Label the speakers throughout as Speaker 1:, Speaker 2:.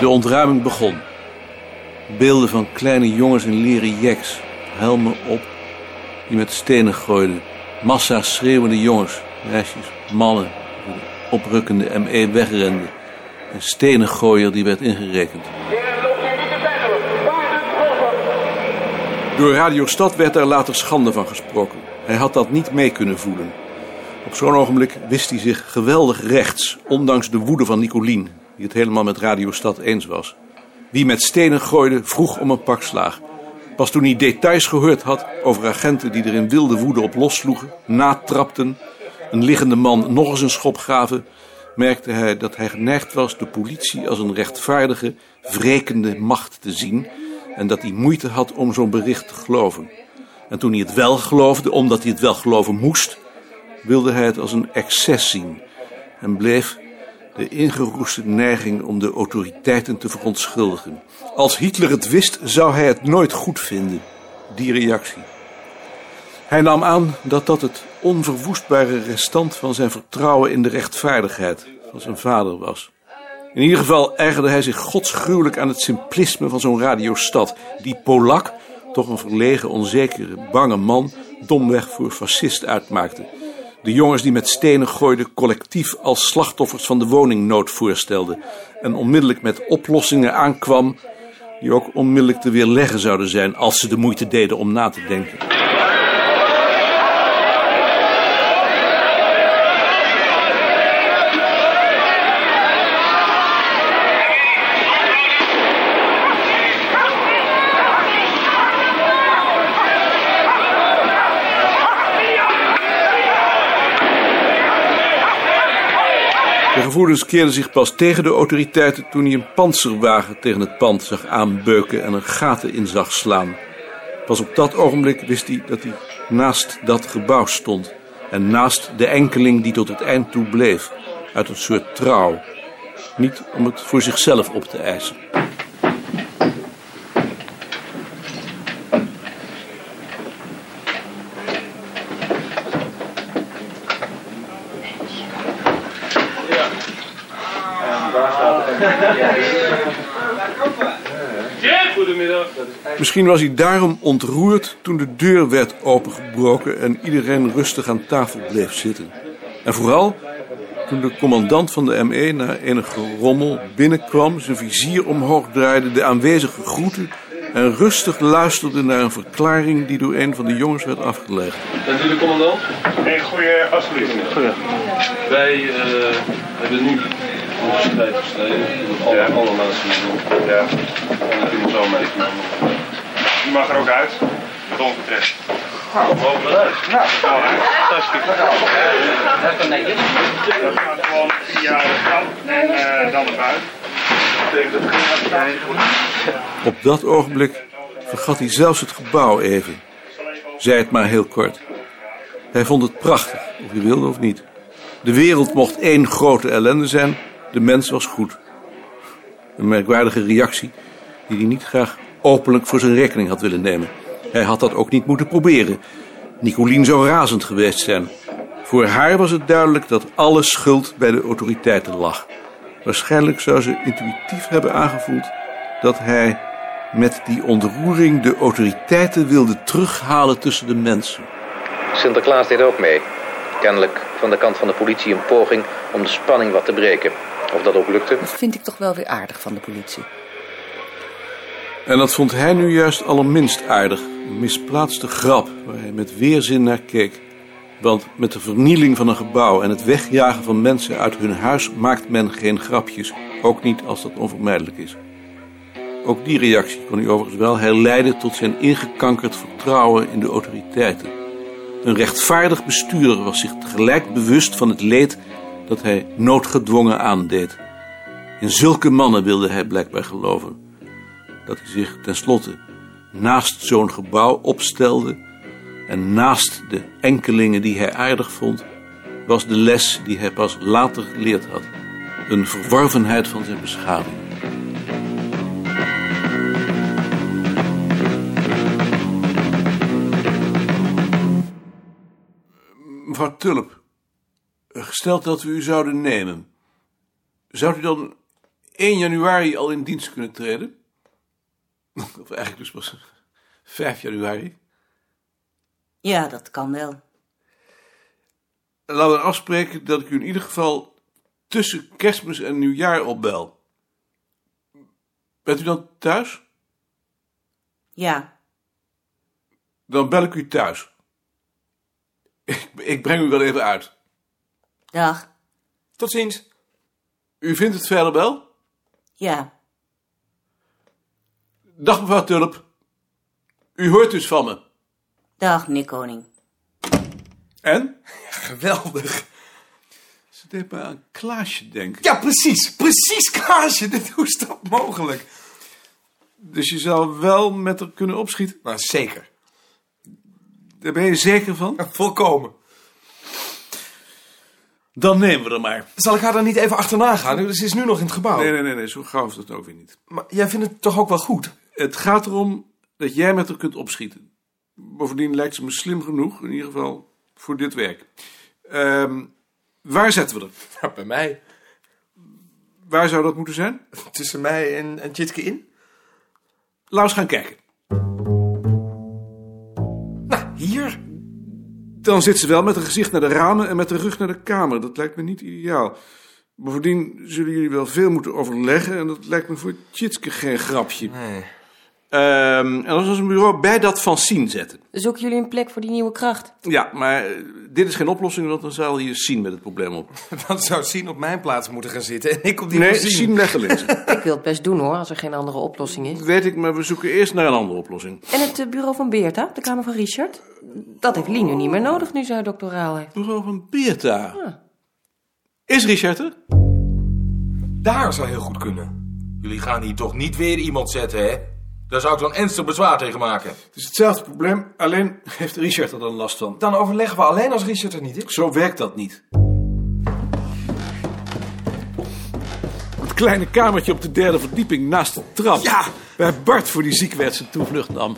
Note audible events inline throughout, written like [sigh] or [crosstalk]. Speaker 1: De ontruiming begon. Beelden van kleine jongens in leren jacks, helmen op, die met stenen gooiden. Massa schreeuwende jongens, meisjes, mannen, die de oprukkende ME wegrenden. Een stenengooier die werd ingerekend. Door Radio Stad werd daar later schande van gesproken. Hij had dat niet mee kunnen voelen. Op zo'n ogenblik wist hij zich geweldig rechts, ondanks de woede van Nicolien, die het helemaal met Radio Stad eens was. Wie met stenen gooide, vroeg om een pak slaag. Pas toen hij details gehoord had over agenten die er in wilde woede op lossloegen, natrapten, een liggende man nog eens een schop gaven, merkte hij dat hij geneigd was de politie als een rechtvaardige, wrekende macht te zien en dat hij moeite had om zo'n bericht te geloven. En toen hij het wel geloofde, omdat hij het wel geloven moest, wilde hij het als een excess zien en bleef de ingeroeste neiging om de autoriteiten te verontschuldigen. Als Hitler het wist, zou hij het nooit goed vinden, die reactie. Hij nam aan dat dat het onverwoestbare restant van zijn vertrouwen in de rechtvaardigheid van zijn vader was. In ieder geval ergerde hij zich godsgruwelijk aan het simplisme van zo'n radiostad. Die Polak, toch een verlegen, onzekere, bange man, domweg voor fascist uitmaakte. De jongens die met stenen gooiden collectief als slachtoffers van de woningnood voorstelde. En onmiddellijk met oplossingen aankwam die ook onmiddellijk te weerleggen zouden zijn als ze de moeite deden om na te denken. De gevoelens keerden zich pas tegen de autoriteiten toen hij een panzerwagen tegen het pand zag aanbeuken en er gaten in zag slaan. Pas op dat ogenblik wist hij dat hij naast dat gebouw stond en naast de enkeling die tot het eind toe bleef, uit een soort trouw. Niet om het voor zichzelf op te eisen. Misschien was hij daarom ontroerd toen de deur werd opengebroken en iedereen rustig aan tafel bleef zitten. En vooral toen de commandant van de ME na enig rommel binnenkwam, zijn vizier omhoog draaide, de aanwezigen groette en rustig luisterde naar een verklaring die door een van de jongens werd afgelegd.
Speaker 2: Bent u de commandant?
Speaker 3: Een goede alsjeblieft.
Speaker 2: Wij eh, hebben nu een strijd gestreden. Dat alle, alle naties doen.
Speaker 3: Ja.
Speaker 2: En dat kunnen we zo meegenomen.
Speaker 3: U mag er ook uit. Wat ons betreft.
Speaker 2: Mogen we uit?
Speaker 3: Nou, fantastisch. Dat gaat gewoon via de kant en eh, dan naar buiten.
Speaker 1: Op dat ogenblik vergat hij zelfs het gebouw even. Zei het maar heel kort. Hij vond het prachtig, of hij wilde of niet. De wereld mocht één grote ellende zijn, de mens was goed. Een merkwaardige reactie die hij niet graag openlijk voor zijn rekening had willen nemen. Hij had dat ook niet moeten proberen. Nicolien zou razend geweest zijn. Voor haar was het duidelijk dat alle schuld bij de autoriteiten lag. Waarschijnlijk zou ze intuïtief hebben aangevoeld dat hij met die ontroering de autoriteiten wilde terughalen tussen de mensen.
Speaker 4: Sinterklaas deed ook mee. Kennelijk van de kant van de politie een poging om de spanning wat te breken. Of dat ook lukte?
Speaker 5: Dat vind ik toch wel weer aardig van de politie.
Speaker 1: En dat vond hij nu juist allerminst aardig. Een misplaatste grap waar hij met weerzin naar keek. Want met de vernieling van een gebouw en het wegjagen van mensen uit hun huis maakt men geen grapjes. Ook niet als dat onvermijdelijk is. Ook die reactie kon hij overigens wel herleiden tot zijn ingekankerd vertrouwen in de autoriteiten. Een rechtvaardig bestuurder was zich tegelijk bewust van het leed dat hij noodgedwongen aandeed. In zulke mannen wilde hij blijkbaar geloven dat hij zich tenslotte naast zo'n gebouw opstelde en naast de enkelingen die hij aardig vond, was de les die hij pas later geleerd had. Een verworvenheid van zijn beschaving. Mevrouw Tulp, gesteld dat we u zouden nemen, zou u dan 1 januari al in dienst kunnen treden. Of eigenlijk dus pas [laughs] 5 januari.
Speaker 6: Ja, dat kan wel.
Speaker 1: Laten we dan afspreken dat ik u in ieder geval tussen kerstmis en nieuwjaar opbel. Bent u dan thuis?
Speaker 6: Ja,
Speaker 1: Dan bel ik u thuis. Ik, ik breng u wel even uit.
Speaker 6: dag.
Speaker 7: Tot ziens.
Speaker 1: U vindt het verder wel?
Speaker 6: Ja,
Speaker 1: Dag mevrouw Tulp. U hoort dus van me.
Speaker 6: dag meneer Koning.
Speaker 1: En?
Speaker 7: Geweldig.
Speaker 1: Ze deed me aan Klaasje denken.
Speaker 7: Ja, precies. Precies, Kaasje. [laughs] Dit, hoe is dat mogelijk?
Speaker 1: Dus je zou wel met haar kunnen opschieten.
Speaker 7: Maar Nou, zeker.
Speaker 1: Daar ben je zeker van?
Speaker 7: Volkomen.
Speaker 1: Dan nemen we er maar.
Speaker 7: Zal ik haar dan niet even achterna gaan? Ze is nu nog in het gebouw.
Speaker 1: Nee, nee, nee, nee, zo gauw is dat ook weer niet.
Speaker 7: Maar jij vindt het toch ook wel goed?
Speaker 1: Het gaat erom dat jij met haar kunt opschieten. Bovendien lijkt ze me slim genoeg, in ieder geval voor dit werk. Ehm, waar zetten we er?
Speaker 7: Ja, bij mij.
Speaker 1: Waar zou dat moeten zijn?
Speaker 7: Tussen mij en, en Tjitske in?
Speaker 1: Laten we eens gaan kijken.
Speaker 7: Nou, hier. [laughs]
Speaker 1: Dan zit ze wel met haar gezicht naar de ramen en met haar rug naar de kamer. Dat lijkt me niet ideaal. Bovendien zullen jullie wel veel moeten overleggen en dat lijkt me voor Tjitske geen grapje.
Speaker 7: Nee.
Speaker 1: Ehm, en als we een bureau bij dat van Sien zetten.
Speaker 5: Zoeken jullie een plek voor die nieuwe kracht?
Speaker 1: Ja, maar eh, dit is geen oplossing, want dan zal je Sien met het probleem op.
Speaker 7: Dan zou Sien op mijn plaats moeten gaan zitten en ik op die
Speaker 1: Nee,
Speaker 7: van Sien.
Speaker 1: Sien legt er links.
Speaker 5: Ik wil het best doen hoor, als er geen andere oplossing is.
Speaker 1: [laughs] Weet ik, maar we zoeken eerst naar een andere oplossing.
Speaker 5: En het eh, bureau van Beerta, de kamer van Richard? Dat heeft Lien nu niet meer nodig nu ze haar doctoraal heeft.
Speaker 1: Bureau van Beerta. Ah. Is Richard er?
Speaker 8: Daar zou heel goed kunnen. Jullie gaan hier toch niet weer iemand zetten, hè? Daar zou ik dan ernstig bezwaar tegen maken.
Speaker 1: Het is hetzelfde probleem, alleen heeft Richard er dan last van.
Speaker 7: Dan overleggen we alleen als Richard er niet is.
Speaker 1: Zo werkt dat niet. Het kleine kamertje op de derde verdieping naast de trap.
Speaker 7: Ja!
Speaker 1: Waar Bart voor die ziekwet zijn toevlucht nam.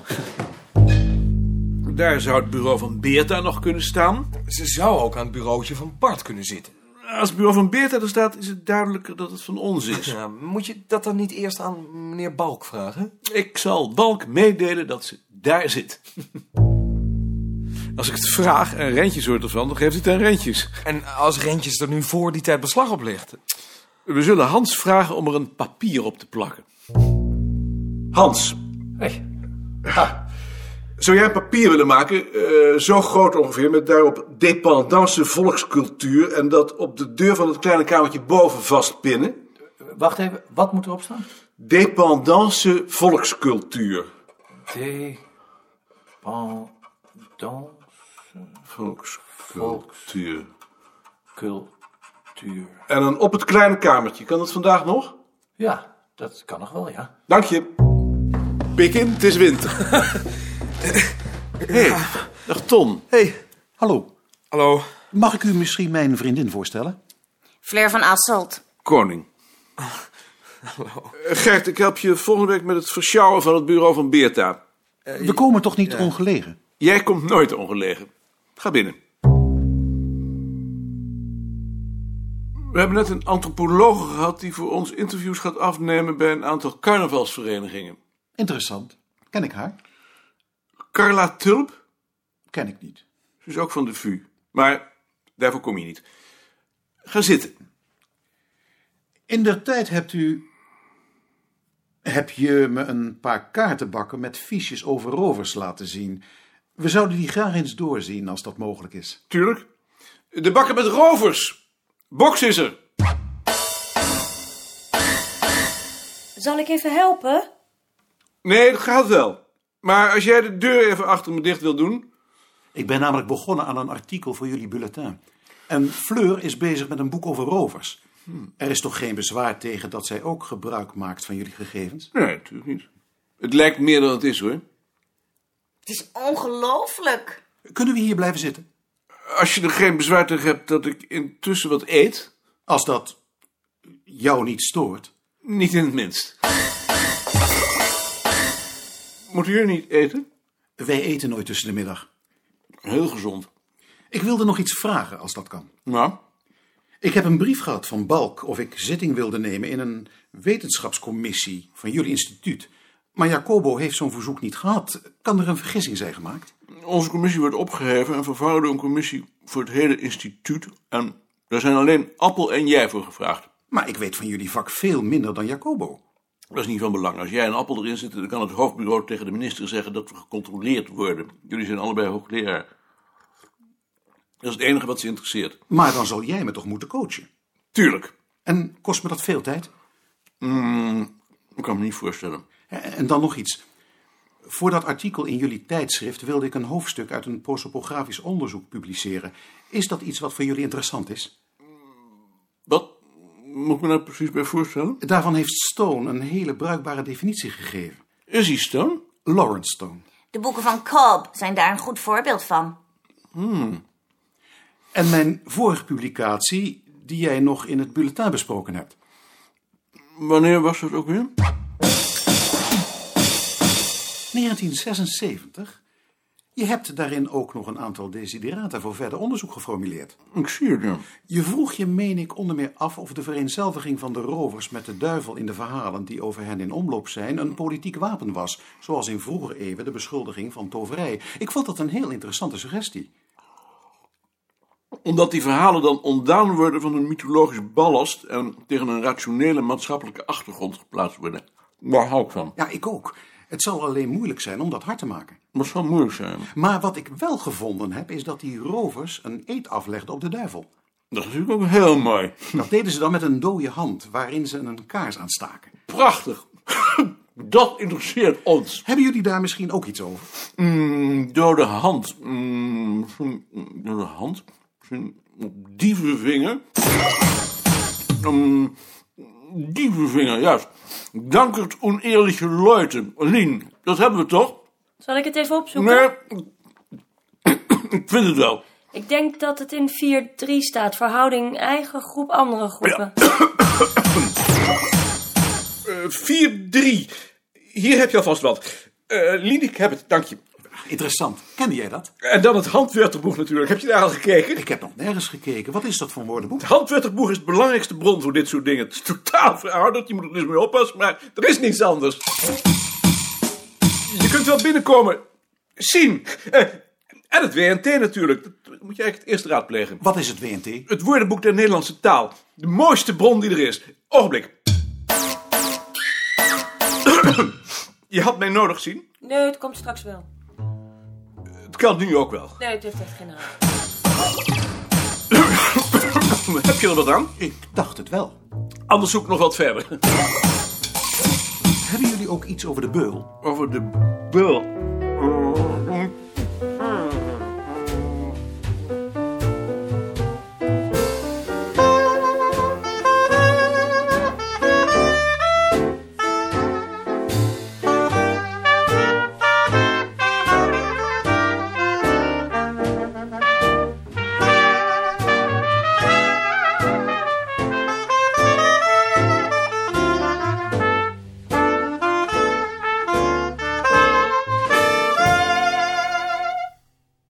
Speaker 1: Daar zou het bureau van Beerta nog kunnen staan.
Speaker 7: Ze zou ook aan het bureautje van Bart kunnen zitten.
Speaker 1: Als het bureau van Beerta er staat, is het duidelijker dat het van ons is.
Speaker 7: Ja, moet je dat dan niet eerst aan meneer Balk vragen?
Speaker 1: Ik zal Balk meedelen dat ze daar zit. Als ik het vraag en Rentjes hoort ervan, dan geeft hij het aan Rentjes.
Speaker 7: En als Rentjes er nu voor die tijd beslag op legt?
Speaker 1: We zullen Hans vragen om er een papier op te plakken. Hans, Ah.
Speaker 8: Hey.
Speaker 1: zou jij een papier willen maken, eh, zo groot ongeveer, met daarop dependance volkscultuur en dat op de deur van het kleine kamertje boven vastpinnen?
Speaker 8: Wacht even, wat moet erop staan?
Speaker 1: Dependance volkscultuur.
Speaker 8: De... Pendant...
Speaker 1: Volkscultuur.
Speaker 8: Cultuur.
Speaker 1: En dan op het kleine kamertje. Kan dat vandaag nog?
Speaker 8: Ja, dat kan nog wel, ja.
Speaker 1: Dank je. Pik in, het is winter. Hé, hey, dag Ton.
Speaker 7: hey,
Speaker 9: Hallo,
Speaker 7: hallo.
Speaker 9: mag ik u misschien mijn vriendin voorstellen?
Speaker 6: Flair van Asselt.
Speaker 1: Koning. Hallo. Gert, ik help je volgende week met het versjouwen van het bureau van Beerta.
Speaker 9: We komen toch niet ongelegen?
Speaker 1: Jij komt nooit ongelegen. Ga binnen. We hebben net een antropoloog gehad die voor ons interviews gaat afnemen bij een aantal carnavalsverenigingen.
Speaker 9: Interessant. Ken ik haar?
Speaker 1: Carla Tulp?
Speaker 9: Ken ik niet.
Speaker 1: Ze is Dus ook van de VU. Maar daarvoor kom je niet. Ga zitten.
Speaker 9: In der tijd hebt u... Heb je me een paar kaartenbakken met fiches over rovers laten zien. We zouden die graag eens doorzien als dat mogelijk is.
Speaker 1: Tuurlijk. De bakken met rovers. Box is er.
Speaker 10: Zal ik even helpen?
Speaker 1: Nee, dat gaat wel. Maar als jij de deur even achter me dicht wil doen.
Speaker 9: Ik ben namelijk begonnen aan een artikel voor jullie bulletin. En Hmm. Fleur is bezig met een boek over rovers. Er is toch geen bezwaar tegen dat zij ook gebruik maakt van jullie gegevens?
Speaker 1: Nee, natuurlijk niet. Het lijkt meer dan het is hoor.
Speaker 6: Het is ongelooflijk.
Speaker 9: Kunnen we hier blijven zitten?
Speaker 1: Als je er geen bezwaar tegen hebt dat ik intussen wat eet.
Speaker 9: Als dat jou niet stoort.
Speaker 1: Niet in het minst. Moeten jullie niet eten?
Speaker 9: Wij eten nooit tussen de middag.
Speaker 1: Heel gezond.
Speaker 9: Ik wilde nog iets vragen, als dat kan.
Speaker 1: Nou,
Speaker 9: Ik heb een brief gehad van Balk of ik zitting wilde nemen in een wetenschapscommissie van jullie instituut. Maar Jacobo heeft zo'n verzoek niet gehad. Kan er een vergissing zijn gemaakt?
Speaker 1: Onze commissie werd opgeheven en vervangen door een commissie voor het hele instituut. En daar zijn alleen Appel en jij voor gevraagd.
Speaker 9: Maar ik weet van jullie vak veel minder dan Jacobo.
Speaker 1: Dat is niet van belang. Als jij en Appel erin zitten, dan kan het hoofdbureau tegen de minister zeggen dat we gecontroleerd worden. Jullie zijn allebei hoogleraar. Dat is het enige wat ze interesseert.
Speaker 9: Maar dan zal jij me toch moeten coachen.
Speaker 1: Tuurlijk.
Speaker 9: En kost me dat veel tijd?
Speaker 1: Mm, ik kan me niet voorstellen.
Speaker 9: En dan nog iets. Voor dat artikel in jullie tijdschrift wilde ik een hoofdstuk uit een prosopografisch onderzoek publiceren. Is dat iets wat voor jullie interessant is?
Speaker 1: Wat moet ik me nou precies bij voorstellen?
Speaker 9: Daarvan heeft Stone een hele bruikbare definitie gegeven.
Speaker 1: Is hij Stone?
Speaker 9: Lawrence Stone.
Speaker 6: De boeken van Cobb zijn daar een goed voorbeeld van.
Speaker 9: En mijn vorige publicatie, die jij nog in het bulletin besproken hebt.
Speaker 1: Wanneer was dat ook weer?
Speaker 9: 1976. Je hebt daarin ook nog een aantal desiderata voor verder onderzoek geformuleerd.
Speaker 1: Ik zie het ja.
Speaker 9: Je vroeg je, meen ik, onder meer af of de vereenzelviging van de rovers met de duivel in de verhalen die over hen in omloop zijn een politiek wapen was, zoals in vroeger eeuwen de beschuldiging van toverij. Ik vond dat een heel interessante suggestie.
Speaker 1: Omdat die verhalen dan ontdaan worden van hun mythologisch ballast en tegen een rationele maatschappelijke achtergrond geplaatst worden. Daar hou ik van.
Speaker 9: Ja, ik ook. Het zal alleen moeilijk zijn om dat hard te maken.
Speaker 1: Maar het zal moeilijk zijn.
Speaker 9: Maar wat ik wel gevonden heb, is dat die rovers een eet aflegden op de duivel.
Speaker 1: Dat is natuurlijk ook heel mooi.
Speaker 9: Dat deden ze dan met een dode hand, waarin ze een kaars aanstaken.
Speaker 1: Prachtig. Dat interesseert ons.
Speaker 9: Hebben jullie daar misschien ook iets over?
Speaker 1: Mm, dode hand. Mm, misschien- mm, dode hand. Misschien op dievenvinger. Mm, dievenvinger, juist. Dankert oneerlijke Leute. Lien, dat hebben we toch?
Speaker 10: Zal ik het even opzoeken?
Speaker 1: Nee. Ik vind het wel.
Speaker 10: Ik denk dat het in 4-3 staat. Verhouding eigen groep, andere groepen.
Speaker 1: Eh, 4-3. Hier heb je alvast wat. Eh Lien, ik heb het, dank je.
Speaker 9: Interessant. Kende jij dat?
Speaker 1: En dan het handwerterboek natuurlijk. Heb je daar al gekeken?
Speaker 9: Ik heb nog nergens gekeken. Wat is dat voor een woordenboek?
Speaker 1: Het handwerterboek is de belangrijkste bron voor dit soort dingen. Het is totaal verouderd, je moet er dus mee oppassen, maar er is niets anders. Je kunt wel binnenkomen. Zien. Eh, en het WNT natuurlijk. Dat moet je eigenlijk het eerst raadplegen.
Speaker 9: Wat is het WNT?
Speaker 1: Het woordenboek der Nederlandse taal. De mooiste bron die er is. Ogenblik. [clears throat] Je had mij nodig zien.
Speaker 10: Nee, het komt straks wel.
Speaker 1: Het kan nu ook wel.
Speaker 10: Nee, het heeft echt geen haast.
Speaker 1: Heb je er wat aan?
Speaker 9: Ik dacht het wel.
Speaker 1: Anders zoek ik nog wat verder.
Speaker 9: Hebben jullie ook iets over de beul?
Speaker 1: Over de beul.